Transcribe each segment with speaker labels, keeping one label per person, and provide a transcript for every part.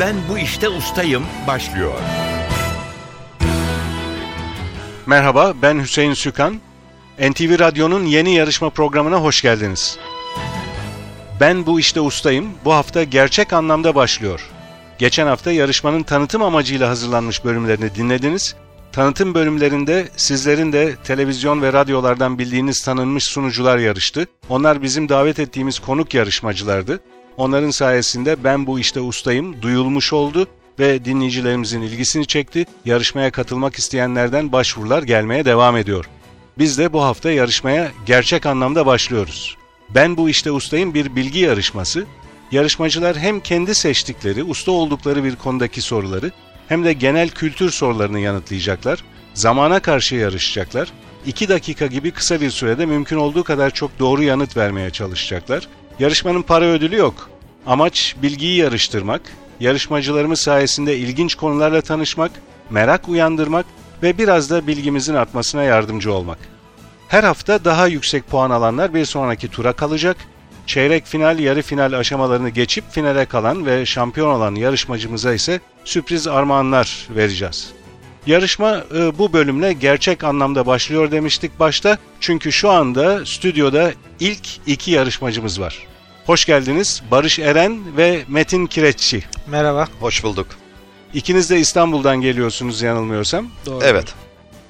Speaker 1: Ben bu işte ustayım başlıyor.
Speaker 2: Merhaba, ben Hüseyin Sükan. NTV Radyo'nun yeni yarışma programına hoş geldiniz. Ben bu işte ustayım. Bu hafta gerçek anlamda başlıyor. Geçen hafta yarışmanın tanıtım amacıyla hazırlanmış bölümlerini dinlediniz. Tanıtım bölümlerinde sizlerin de televizyon ve radyolardan bildiğiniz tanınmış sunucular yarıştı. Onlar bizim davet ettiğimiz konuk yarışmacılardı. Onların sayesinde ben bu işte ustayım duyulmuş oldu ve dinleyicilerimizin ilgisini çekti. Yarışmaya katılmak isteyenlerden başvurular gelmeye devam ediyor. Biz de bu hafta yarışmaya gerçek anlamda başlıyoruz. Ben bu işte ustayım bir bilgi yarışması. Yarışmacılar hem kendi seçtikleri, usta oldukları bir konudaki soruları hem de genel kültür sorularını yanıtlayacaklar. Zamana karşı yarışacaklar. 2 dakika gibi kısa bir sürede mümkün olduğu kadar çok doğru yanıt vermeye çalışacaklar. Yarışmanın para ödülü yok. Amaç bilgiyi yarıştırmak, yarışmacılarımız sayesinde ilginç konularla tanışmak, merak uyandırmak ve biraz da bilgimizin artmasına yardımcı olmak. Her hafta daha yüksek puan alanlar bir sonraki tura kalacak. Çeyrek final, yarı final aşamalarını geçip finale kalan ve şampiyon olan yarışmacımıza ise sürpriz armağanlar vereceğiz. Yarışma e, bu bölümle gerçek anlamda başlıyor demiştik başta. Çünkü şu anda stüdyoda ilk iki yarışmacımız var. Hoş geldiniz Barış Eren ve Metin Kireççi.
Speaker 3: Merhaba.
Speaker 4: Hoş bulduk.
Speaker 2: İkiniz de İstanbul'dan geliyorsunuz yanılmıyorsam.
Speaker 3: Doğru.
Speaker 4: Evet.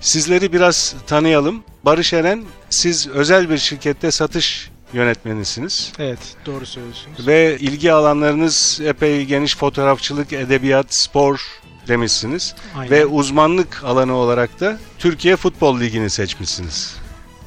Speaker 2: Sizleri biraz tanıyalım. Barış Eren, siz özel bir şirkette satış yönetmenisiniz
Speaker 3: Evet, doğru söylüyorsunuz.
Speaker 2: ve ilgi alanlarınız epey geniş fotoğrafçılık, edebiyat, spor demişsiniz
Speaker 3: Aynen.
Speaker 2: ve uzmanlık alanı olarak da Türkiye Futbol Ligi'ni seçmişsiniz.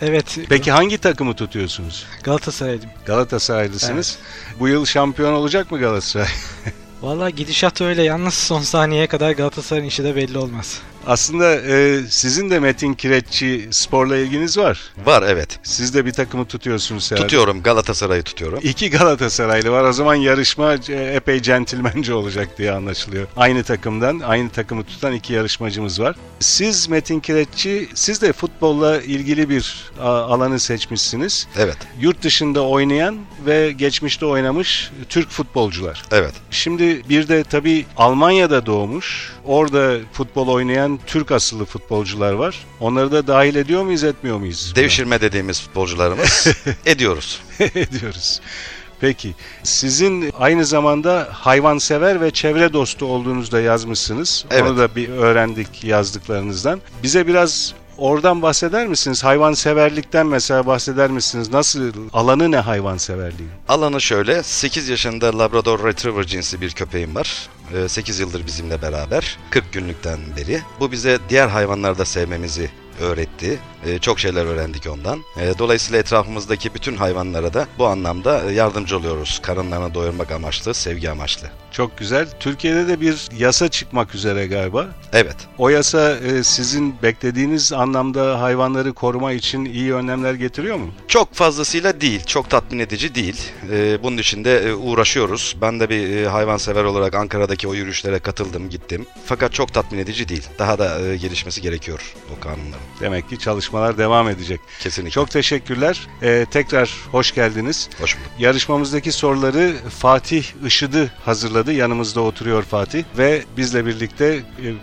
Speaker 3: evet.
Speaker 2: Peki hangi takımı tutuyorsunuz?
Speaker 3: Galatasaraylıyım.
Speaker 2: Galatasaraylısınız. Bu yıl şampiyon olacak mı Galatasaray?
Speaker 3: Valla gidişat öyle yalnız son saniyeye kadar Galatasaray'ın işi de belli olmaz.
Speaker 2: Aslında e, sizin de Metin Kireççi sporla ilginiz var.
Speaker 4: Var evet.
Speaker 2: Siz de bir takımı tutuyorsunuz herhalde.
Speaker 4: Tutuyorum Galatasaray'ı tutuyorum.
Speaker 2: İki Galatasaraylı var. O zaman yarışma e, epey centilmence olacak diye anlaşılıyor. Aynı takımdan, aynı takımı tutan iki yarışmacımız var. Siz Metin Kireççi, siz de futbolla ilgili bir a, alanı seçmişsiniz.
Speaker 4: Evet.
Speaker 2: Yurt dışında oynayan ve geçmişte oynamış Türk futbolcular.
Speaker 4: Evet.
Speaker 2: Şimdi bir de tabii Almanya'da doğmuş, orada futbol oynayan Türk asıllı futbolcular var. Onları da dahil ediyor muyuz, etmiyor muyuz?
Speaker 4: Devşirme dediğimiz futbolcularımız ediyoruz.
Speaker 2: ediyoruz. Peki sizin aynı zamanda hayvansever ve çevre dostu olduğunuzu da yazmışsınız.
Speaker 4: Evet.
Speaker 2: Onu da bir öğrendik yazdıklarınızdan. Bize biraz oradan bahseder misiniz? Hayvanseverlikten mesela bahseder misiniz? Nasıl alanı ne hayvanseverliğin?
Speaker 4: Alanı şöyle 8 yaşında Labrador Retriever cinsi bir köpeğim var. 8 yıldır bizimle beraber. 40 günlükten beri. Bu bize diğer hayvanları da sevmemizi öğretti. Ee, Çok şeyler öğrendik ondan. Ee, Dolayısıyla etrafımızdaki bütün hayvanlara da bu anlamda e, yardımcı oluyoruz. Karınlarını doyurmak amaçlı, sevgi amaçlı.
Speaker 2: Çok güzel. Türkiye'de de bir yasa çıkmak üzere galiba.
Speaker 4: Evet.
Speaker 2: O yasa e, sizin beklediğiniz anlamda hayvanları koruma için iyi önlemler getiriyor mu?
Speaker 4: Çok fazlasıyla değil, çok tatmin edici değil. Ee, bunun için de e, uğraşıyoruz. Ben de bir e, hayvansever olarak Ankara'daki o yürüyüşlere katıldım, gittim. Fakat çok tatmin edici değil. Daha da e, gelişmesi gerekiyor o kanunların.
Speaker 2: Demek ki çalışmalar devam edecek.
Speaker 4: Kesinlikle.
Speaker 2: Çok teşekkürler. E, tekrar hoş geldiniz.
Speaker 4: hoş bulduk.
Speaker 2: Yarışmamızdaki soruları Fatih Işıdı hazırladı. Yanımızda oturuyor Fatih ve bizle birlikte e,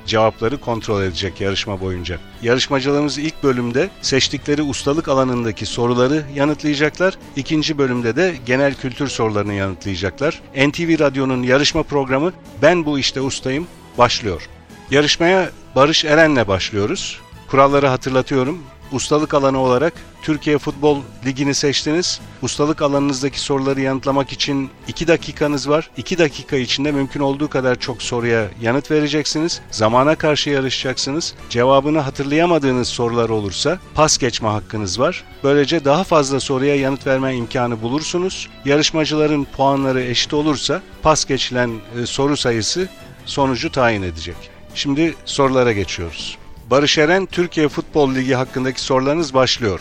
Speaker 2: cevapları kontrol edecek yarışma boyunca. Yarışmacılarımız ilk bölümde seçtikleri ustalık alanındaki soruları yanıtlayacaklar. İkinci bölümde de genel kültür sorularını yanıtlayacaklar. NTV Radyo'nun yarışma programı Ben Bu İşte Ustayım başlıyor. Yarışmaya Barış Eren'le başlıyoruz. Kuralları hatırlatıyorum. Ustalık alanı olarak Türkiye Futbol Ligi'ni seçtiniz. Ustalık alanınızdaki soruları yanıtlamak için 2 dakikanız var. 2 dakika içinde mümkün olduğu kadar çok soruya yanıt vereceksiniz. Zamana karşı yarışacaksınız. Cevabını hatırlayamadığınız sorular olursa pas geçme hakkınız var. Böylece daha fazla soruya yanıt verme imkanı bulursunuz. Yarışmacıların puanları eşit olursa pas geçilen e, soru sayısı sonucu tayin edecek. Şimdi sorulara geçiyoruz. Barış Eren, Türkiye Futbol Ligi hakkındaki sorularınız başlıyor.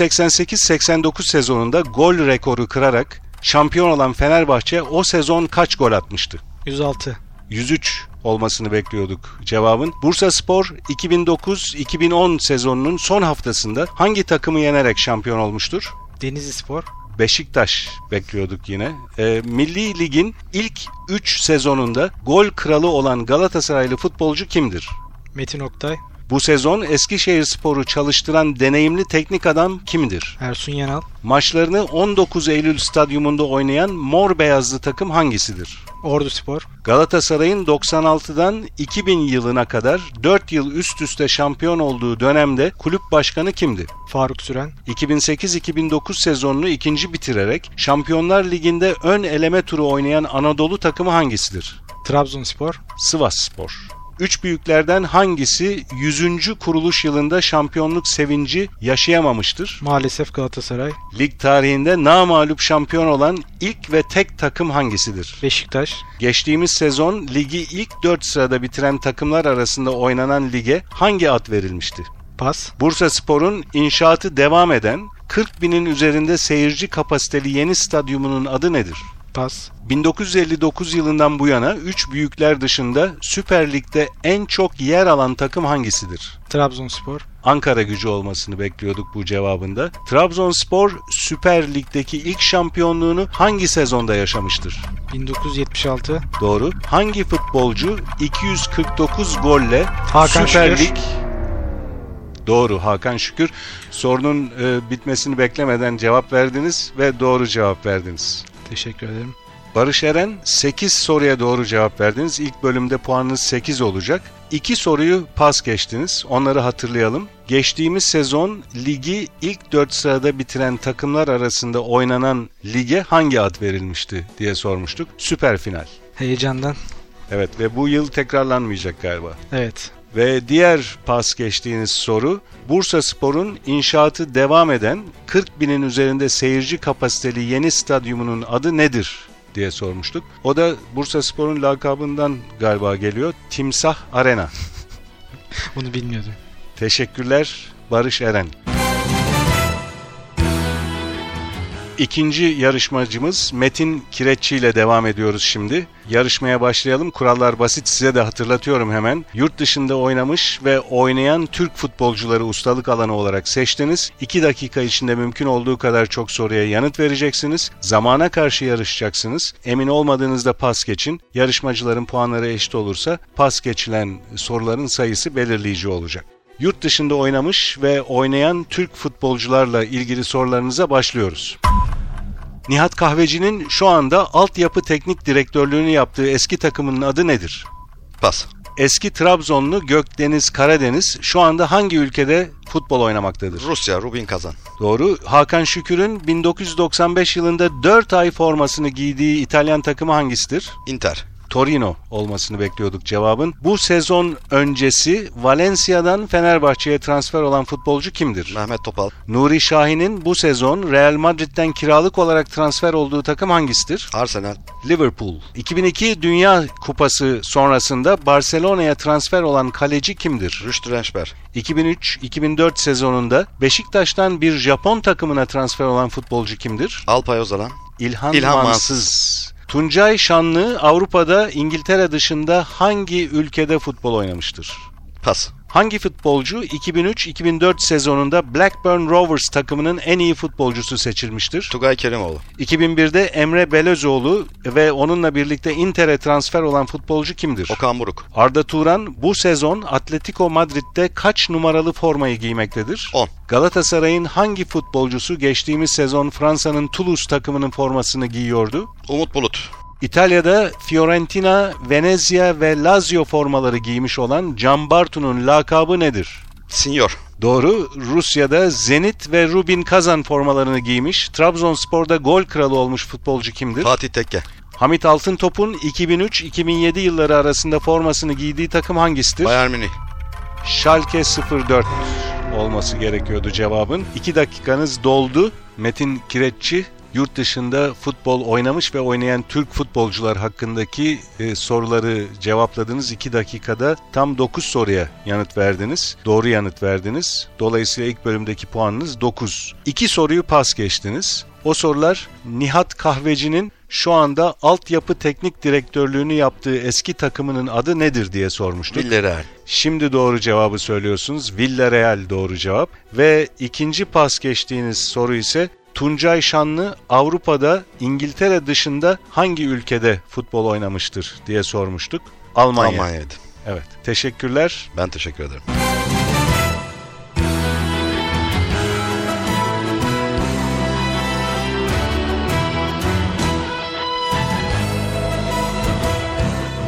Speaker 2: 1988-89 sezonunda gol rekoru kırarak şampiyon olan Fenerbahçe o sezon kaç gol atmıştı?
Speaker 3: 106.
Speaker 2: 103 olmasını bekliyorduk cevabın. Bursa Spor 2009-2010 sezonunun son haftasında hangi takımı yenerek şampiyon olmuştur?
Speaker 3: Denizli Spor.
Speaker 2: Beşiktaş bekliyorduk yine. Ee, Milli Lig'in ilk 3 sezonunda gol kralı olan Galatasaraylı futbolcu kimdir?
Speaker 3: Metin Oktay,
Speaker 2: Bu sezon Eskişehirspor'u çalıştıran deneyimli teknik adam kimdir?
Speaker 3: Ersun Yanal,
Speaker 2: Maçlarını 19 Eylül stadyumunda oynayan mor beyazlı takım hangisidir?
Speaker 3: Ordu Spor,
Speaker 2: Galatasaray'ın 96'dan 2000 yılına kadar 4 yıl üst üste şampiyon olduğu dönemde kulüp başkanı kimdi?
Speaker 3: Faruk Süren,
Speaker 2: 2008-2009 sezonunu ikinci bitirerek Şampiyonlar Ligi'nde ön eleme turu oynayan Anadolu takımı hangisidir?
Speaker 3: Trabzonspor,
Speaker 2: Sivasspor. Üç büyüklerden hangisi 100. kuruluş yılında şampiyonluk sevinci yaşayamamıştır?
Speaker 3: maalesef Galatasaray,
Speaker 2: Lig tarihinde namağlup şampiyon olan ilk ve tek takım hangisidir?
Speaker 3: Beşiktaş,
Speaker 2: Geçtiğimiz sezon ligi ilk 4 sırada bitiren takımlar arasında oynanan lige hangi ad verilmişti?
Speaker 3: Pas,
Speaker 2: Bursa Spor'un inşaatı devam eden 40 binin üzerinde seyirci kapasiteli yeni stadyumunun adı nedir?
Speaker 3: Pas,
Speaker 2: 1959 yılından bu yana 3 büyükler dışında Süper Lig'de en çok yer alan takım hangisidir?
Speaker 3: Trabzonspor,
Speaker 2: Ankara gücü olmasını bekliyorduk bu cevabında. Trabzonspor Süper Lig'deki ilk şampiyonluğunu hangi sezonda yaşamıştır?
Speaker 3: 1976,
Speaker 2: Doğru. Hangi futbolcu 249 golle
Speaker 3: Hakan
Speaker 2: Süper
Speaker 3: Şükür.
Speaker 2: Lig Doğru Hakan Şükür. Sorunun e, bitmesini beklemeden cevap verdiniz ve doğru cevap verdiniz.
Speaker 3: teşekkür ederim.
Speaker 2: Barış Eren 8 soruya doğru cevap verdiniz. İlk bölümde puanınız 8 olacak. 2 soruyu pas geçtiniz. Onları hatırlayalım. Geçtiğimiz sezon ligi ilk 4 sırada bitiren takımlar arasında oynanan lige hangi ad verilmişti diye sormuştuk. Süper final.
Speaker 3: Heyecandan,
Speaker 2: Evet ve bu yıl tekrarlanmayacak galiba.
Speaker 3: evet.
Speaker 2: Ve diğer pas geçtiğiniz soru Bursa Spor'un inşaatı devam eden 40 binin üzerinde seyirci kapasiteli yeni stadyumunun adı nedir diye sormuştuk. O da Bursa Spor'un lakabından galiba geliyor. Timsah Arena.
Speaker 3: Bunu bilmiyordum.
Speaker 2: Teşekkürler Barış Eren. İkinci yarışmacımız Metin Kireççi ile devam ediyoruz şimdi. Yarışmaya başlayalım. Kurallar basit size de hatırlatıyorum hemen. Yurt dışında oynamış ve oynayan Türk futbolcuları ustalık alanı olarak seçtiniz. 2 dakika içinde mümkün olduğu kadar çok soruya yanıt vereceksiniz. Zamana karşı yarışacaksınız. Emin olmadığınızda pas geçin. Yarışmacıların puanları eşit olursa pas geçilen soruların sayısı belirleyici olacak. Yurt dışında oynamış ve oynayan Türk futbolcularla ilgili sorularınıza başlıyoruz. Nihat Kahveci'nin şu anda altyapı teknik direktörlüğünü yaptığı eski takımının adı nedir?
Speaker 4: Pas.
Speaker 2: Eski Trabzonlu Gökdeniz Karadeniz şu anda hangi ülkede futbol oynamaktadır?
Speaker 4: Rusya Rubin Kazan.
Speaker 2: Doğru. Hakan Şükür'ün 1995 yılında 4 ay formasını giydiği İtalyan takımı hangisidir?
Speaker 4: Inter.
Speaker 2: Torino olmasını bekliyorduk cevabın. Bu sezon öncesi Valencia'dan Fenerbahçe'ye transfer olan futbolcu kimdir?
Speaker 4: Mehmet Topal.
Speaker 2: Nuri Şahin'in bu sezon Real Madrid'den kiralık olarak transfer olduğu takım hangisidir?
Speaker 4: Arsenal.
Speaker 2: Liverpool. 2002 Dünya Kupası sonrasında Barcelona'ya transfer olan kaleci kimdir?
Speaker 4: Rüştü Rençber.
Speaker 2: 2003-2004 sezonunda Beşiktaş'tan bir Japon takımına transfer olan futbolcu kimdir?
Speaker 4: Alpay Özalan.
Speaker 2: İlhan,
Speaker 4: İlhan
Speaker 2: Mansız.
Speaker 4: Mansız.
Speaker 2: Tuncay Şanlı Avrupa'da İngiltere dışında hangi ülkede futbol oynamıştır?
Speaker 4: Pas.
Speaker 2: Hangi futbolcu 2003-2004 sezonunda Blackburn Rovers takımının en iyi futbolcusu seçilmiştir?
Speaker 4: Tugay Kerimoğlu.
Speaker 2: 2001'de Emre Belözoğlu ve onunla birlikte Inter'e transfer olan futbolcu kimdir?
Speaker 4: Okan Buruk.
Speaker 2: Arda Turan bu sezon Atletico Madrid'de kaç numaralı formayı giymektedir?
Speaker 4: 10.
Speaker 2: Galatasaray'ın hangi futbolcusu geçtiğimiz sezon Fransa'nın Toulouse takımının formasını giyiyordu?
Speaker 4: Umut Bulut.
Speaker 2: İtalya'da Fiorentina, Venezia ve Lazio formaları giymiş olan Can Bartu'nun lakabı nedir?
Speaker 4: Senior.
Speaker 2: Doğru. Rusya'da Zenit ve Rubin Kazan formalarını giymiş. Trabzonspor'da gol kralı olmuş futbolcu kimdir?
Speaker 4: Fatih Tekke.
Speaker 2: Hamit Altıntop'un 2003-2007 yılları arasında formasını giydiği takım hangisidir?
Speaker 4: Bayern Münih.
Speaker 2: Schalke 04 olması gerekiyordu cevabın. 2 dakikanız doldu. Metin Kireççi yurt dışında futbol oynamış ve oynayan Türk futbolcular hakkındaki e, soruları cevapladınız. 2 dakikada tam 9 soruya yanıt verdiniz. Doğru yanıt verdiniz. Dolayısıyla ilk bölümdeki puanınız 9. 2 soruyu pas geçtiniz. O sorular Nihat Kahveci'nin şu anda altyapı teknik direktörlüğünü yaptığı eski takımının adı nedir diye sormuştuk.
Speaker 4: Villarreal.
Speaker 2: Şimdi doğru cevabı söylüyorsunuz. Villarreal doğru cevap. Ve ikinci pas geçtiğiniz soru ise Tuncay Şanlı Avrupa'da İngiltere dışında hangi ülkede futbol oynamıştır diye sormuştuk. Almanya.
Speaker 4: Almanya'ydı.
Speaker 2: Evet. Teşekkürler.
Speaker 4: Ben teşekkür ederim.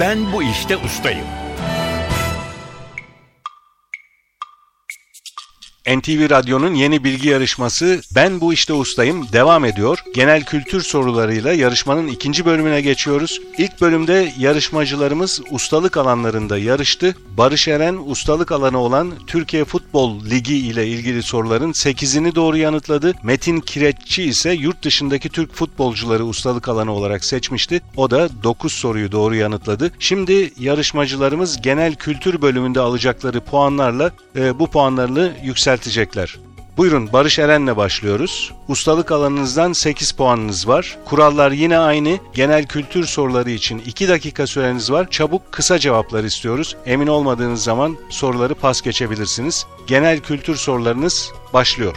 Speaker 1: Ben bu işte ustayım.
Speaker 2: NTV Radyo'nun yeni bilgi yarışması Ben Bu İşte Ustayım devam ediyor. Genel kültür sorularıyla yarışmanın ikinci bölümüne geçiyoruz. İlk bölümde yarışmacılarımız ustalık alanlarında yarıştı. Barış Eren ustalık alanı olan Türkiye Futbol Ligi ile ilgili soruların 8'ini doğru yanıtladı. Metin Kireççi ise yurt dışındaki Türk futbolcuları ustalık alanı olarak seçmişti. O da 9 soruyu doğru yanıtladı. Şimdi yarışmacılarımız genel kültür bölümünde alacakları puanlarla e, bu puanlarını yükseltecekler. Buyurun Barış Eren'le başlıyoruz. Ustalık alanınızdan 8 puanınız var. Kurallar yine aynı. Genel kültür soruları için 2 dakika süreniz var. Çabuk kısa cevaplar istiyoruz. Emin olmadığınız zaman soruları pas geçebilirsiniz. Genel kültür sorularınız başlıyor.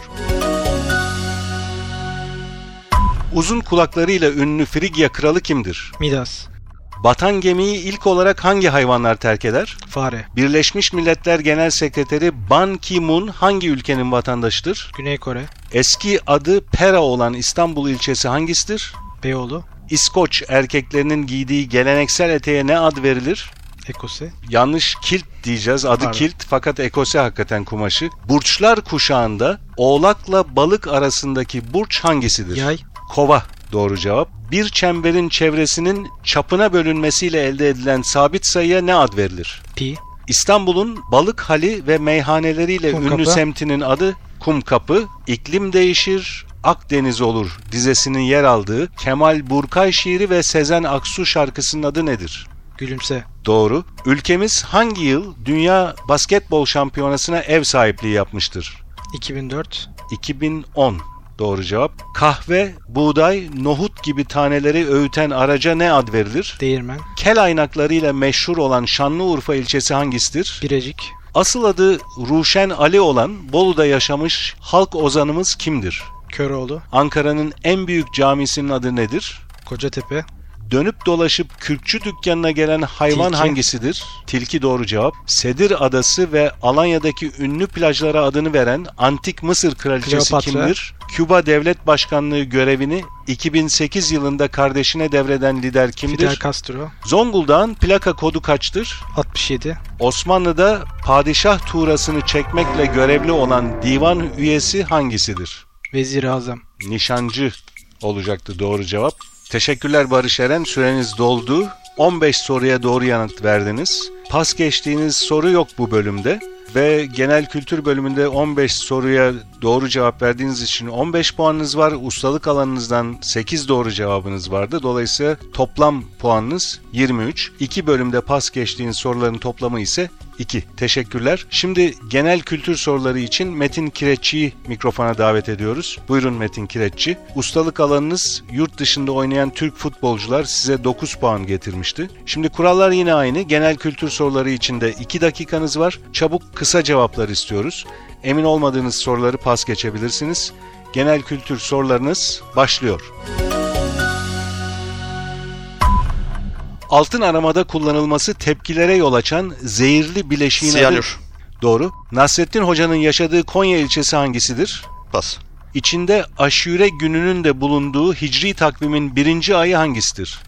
Speaker 2: Uzun kulaklarıyla ünlü Frigya kralı kimdir?
Speaker 3: Midas,
Speaker 2: Batan gemiyi ilk olarak hangi hayvanlar terk eder?
Speaker 3: fare,
Speaker 2: Birleşmiş Milletler Genel Sekreteri Ban Ki-moon hangi ülkenin vatandaşıdır?
Speaker 3: Güney Kore,
Speaker 2: Eski adı Pera olan İstanbul ilçesi hangisidir?
Speaker 3: Beyoğlu,
Speaker 2: İskoç erkeklerinin giydiği geleneksel eteğe ne ad verilir?
Speaker 3: Ekose,
Speaker 2: Yanlış kilt diyeceğiz. Adı
Speaker 3: Pardon.
Speaker 2: kilt fakat ekose hakikaten kumaşı. Burçlar kuşağında oğlakla balık arasındaki burç hangisidir?
Speaker 3: Yay,
Speaker 2: Kova doğru cevap. Bir çemberin çevresinin çapına bölünmesiyle elde edilen sabit sayıya ne ad verilir?
Speaker 3: Pi,
Speaker 2: İstanbul'un balık hali ve meyhaneleriyle
Speaker 3: Kumkapı.
Speaker 2: ünlü semtinin adı Kumkapı. İklim değişir, Akdeniz olur dizesinin yer aldığı Kemal Burkay şiiri ve Sezen Aksu şarkısının adı nedir?
Speaker 3: Gülümse,
Speaker 2: Doğru. Ülkemiz hangi yıl Dünya Basketbol Şampiyonası'na ev sahipliği yapmıştır?
Speaker 3: 2004,
Speaker 2: 2010. Doğru cevap. Kahve, buğday, nohut gibi taneleri öğüten araca ne ad verilir?
Speaker 3: Değirmen,
Speaker 2: Kel aynaklarıyla meşhur olan Şanlıurfa ilçesi hangisidir?
Speaker 3: Birecik,
Speaker 2: Asıl adı Ruşen Ali olan Bolu'da yaşamış halk ozanımız kimdir?
Speaker 3: Köroğlu,
Speaker 2: Ankara'nın en büyük camisinin adı nedir?
Speaker 3: Kocatepe,
Speaker 2: Dönüp dolaşıp kürkçü dükkanına gelen hayvan
Speaker 3: Tilki.
Speaker 2: hangisidir? Tilki doğru cevap. Sedir Adası ve Alanya'daki ünlü plajlara adını veren Antik Mısır Kraliçesi
Speaker 3: Kleopatra.
Speaker 2: kimdir? Küba Devlet Başkanlığı görevini 2008 yılında kardeşine devreden lider
Speaker 3: Fidel
Speaker 2: kimdir?
Speaker 3: Castro,
Speaker 2: Zonguldak'ın plaka kodu kaçtır?
Speaker 3: 67,
Speaker 2: Osmanlı'da padişah tuğrasını çekmekle görevli olan divan üyesi hangisidir?
Speaker 3: Vezir Azam.
Speaker 2: Nişancı olacaktı doğru cevap. Teşekkürler Barış Eren. Süreniz doldu. 15 soruya doğru yanıt verdiniz. Pas geçtiğiniz soru yok bu bölümde. Ve genel kültür bölümünde 15 soruya doğru cevap verdiğiniz için 15 puanınız var. Ustalık alanınızdan 8 doğru cevabınız vardı. Dolayısıyla toplam puanınız 23. 2 bölümde pas geçtiğiniz soruların toplamı ise 2. Teşekkürler. Şimdi genel kültür soruları için Metin Kireççi'yi mikrofona davet ediyoruz. Buyurun Metin Kireççi. Ustalık alanınız yurt dışında oynayan Türk futbolcular size 9 puan getirmişti. Şimdi kurallar yine aynı. Genel kültür soruları için de 2 dakikanız var. Çabuk kısa cevaplar istiyoruz. Emin olmadığınız soruları pas geçebilirsiniz. Genel kültür sorularınız başlıyor. Altın aramada kullanılması tepkilere yol açan zehirli bileşiğin adı
Speaker 4: Siyanür.
Speaker 2: Doğru. Nasrettin Hoca'nın yaşadığı Konya ilçesi hangisidir?
Speaker 4: Pas.
Speaker 2: İçinde aşure gününün de bulunduğu hicri takvimin birinci ayı hangisidir?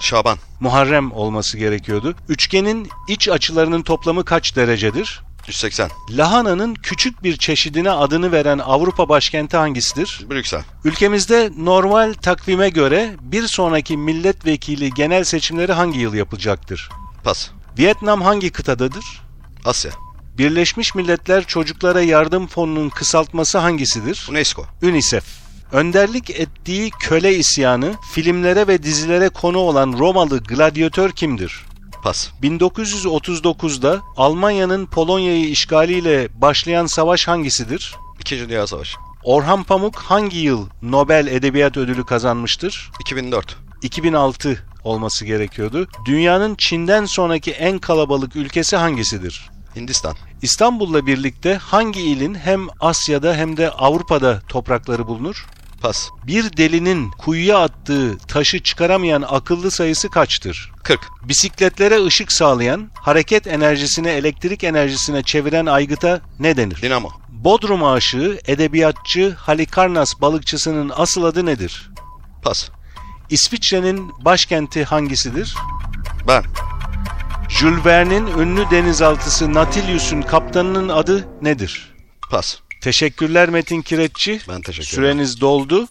Speaker 4: Şaban.
Speaker 2: Muharrem olması gerekiyordu. Üçgenin iç açılarının toplamı kaç derecedir?
Speaker 4: 180.
Speaker 2: Lahananın küçük bir çeşidine adını veren Avrupa başkenti hangisidir?
Speaker 4: Brüksel.
Speaker 2: Ülkemizde normal takvime göre bir sonraki milletvekili genel seçimleri hangi yıl yapılacaktır?
Speaker 4: Pas.
Speaker 2: Vietnam hangi kıtadadır?
Speaker 4: Asya.
Speaker 2: Birleşmiş Milletler Çocuklara Yardım Fonu'nun kısaltması hangisidir?
Speaker 4: UNESCO.
Speaker 2: UNICEF. Önderlik ettiği köle isyanı, filmlere ve dizilere konu olan Romalı gladyatör kimdir?
Speaker 4: Pas.
Speaker 2: 1939'da Almanya'nın Polonya'yı işgaliyle başlayan savaş hangisidir?
Speaker 4: İkinci Dünya Savaşı.
Speaker 2: Orhan Pamuk hangi yıl Nobel Edebiyat Ödülü kazanmıştır?
Speaker 4: 2004.
Speaker 2: 2006 olması gerekiyordu. Dünyanın Çin'den sonraki en kalabalık ülkesi hangisidir?
Speaker 4: Hindistan.
Speaker 2: İstanbul'la birlikte hangi ilin hem Asya'da hem de Avrupa'da toprakları bulunur?
Speaker 4: Pas.
Speaker 2: Bir delinin kuyuya attığı taşı çıkaramayan akıllı sayısı kaçtır?
Speaker 4: 40.
Speaker 2: Bisikletlere ışık sağlayan, hareket enerjisini elektrik enerjisine çeviren aygıta ne denir?
Speaker 4: Dinamo.
Speaker 2: Bodrum aşığı, edebiyatçı Halikarnas balıkçısının asıl adı nedir?
Speaker 4: Pas.
Speaker 2: İsviçre'nin başkenti hangisidir?
Speaker 4: Ben.
Speaker 2: Jules Verne'in ünlü denizaltısı Nautilus'un kaptanının adı nedir?
Speaker 4: Pas.
Speaker 2: Teşekkürler Metin Kireççi.
Speaker 4: Ben teşekkür ederim.
Speaker 2: Süreniz doldu.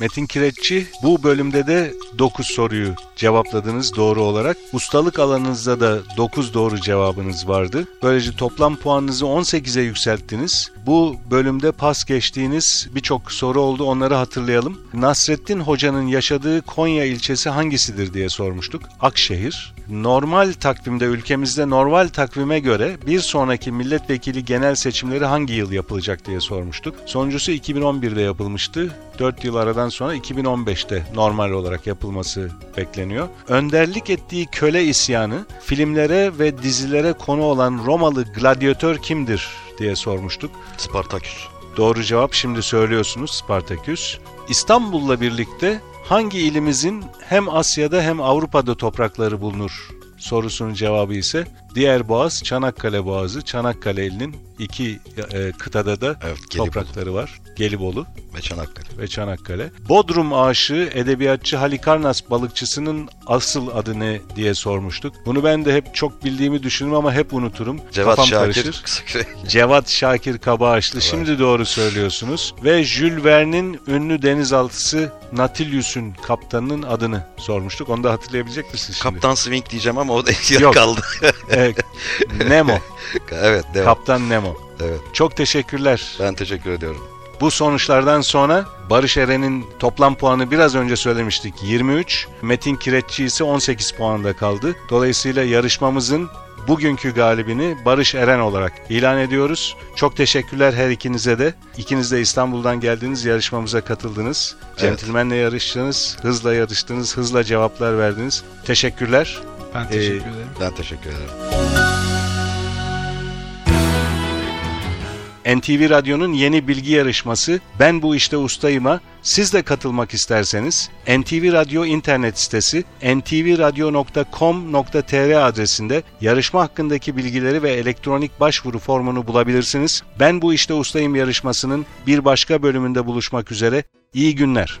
Speaker 2: Metin Kireççi bu bölümde de 9 soruyu cevapladınız doğru olarak. Ustalık alanınızda da 9 doğru cevabınız vardı. Böylece toplam puanınızı 18'e yükselttiniz. Bu bölümde pas geçtiğiniz birçok soru oldu onları hatırlayalım. Nasrettin Hoca'nın yaşadığı Konya ilçesi hangisidir diye sormuştuk. Akşehir. Normal takvimde ülkemizde normal takvime göre bir sonraki milletvekili genel seçimleri hangi yıl yapılacak diye sormuştuk. Sonuncusu 2011'de yapılmıştı. 4 yıl aradan sonra 2015'te normal olarak yapılması bekleniyor. Önderlik ettiği köle isyanı filmlere ve dizilere konu olan Romalı gladyatör kimdir diye sormuştuk.
Speaker 4: Spartaküs.
Speaker 2: Doğru cevap şimdi söylüyorsunuz Spartaküs. İstanbul'la birlikte hangi ilimizin hem Asya'da hem Avrupa'da toprakları bulunur sorusunun cevabı ise diğer boğaz Çanakkale Boğazı. Çanakkale ilinin iki e, kıtada da
Speaker 4: Evet. Gelip
Speaker 2: toprakları var. Gelibolu
Speaker 4: ve Çanakkale.
Speaker 2: ve Çanakkale. Bodrum aşığı edebiyatçı Halikarnas balıkçısının asıl adı ne diye sormuştuk. Bunu ben de hep çok bildiğimi düşünürüm ama hep unuturum.
Speaker 4: Cevat
Speaker 2: Kafam
Speaker 4: Şakir.
Speaker 2: karışır. Cevat Şakir Kabaağaçlı. Şimdi doğru söylüyorsunuz. Ve Jules Verne'in ünlü denizaltısı Nautilus'un kaptanının adını sormuştuk. Onu da hatırlayabilecek misin şimdi?
Speaker 4: Kaptan Swing diyeceğim ama o da
Speaker 2: Yok.
Speaker 4: yok kaldı.
Speaker 2: Evet, Nemo.
Speaker 4: evet. Devam.
Speaker 2: Kaptan Nemo.
Speaker 4: Evet.
Speaker 2: Çok teşekkürler.
Speaker 4: Ben teşekkür ediyorum.
Speaker 2: Bu sonuçlardan sonra Barış Eren'in toplam puanı biraz önce söylemiştik 23. Metin Kireççi ise 18 puanda kaldı. Dolayısıyla yarışmamızın bugünkü galibini Barış Eren olarak ilan ediyoruz. Çok teşekkürler her ikinize de. İkiniz de İstanbul'dan geldiniz, yarışmamıza katıldınız.
Speaker 4: Evet.
Speaker 2: Centilmenle yarıştınız, hızla yarıştınız, hızla cevaplar verdiniz. Teşekkürler.
Speaker 3: Ben teşekkür ederim.
Speaker 4: Ben teşekkür ederim.
Speaker 2: NTV Radyo'nun yeni bilgi yarışması Ben Bu İşte Ustayım'a siz de katılmak isterseniz NTV Radyo internet sitesi ntvradio.com.tr adresinde yarışma hakkındaki bilgileri ve elektronik başvuru formunu bulabilirsiniz. Ben Bu İşte Ustayım yarışmasının bir başka bölümünde buluşmak üzere. İyi günler.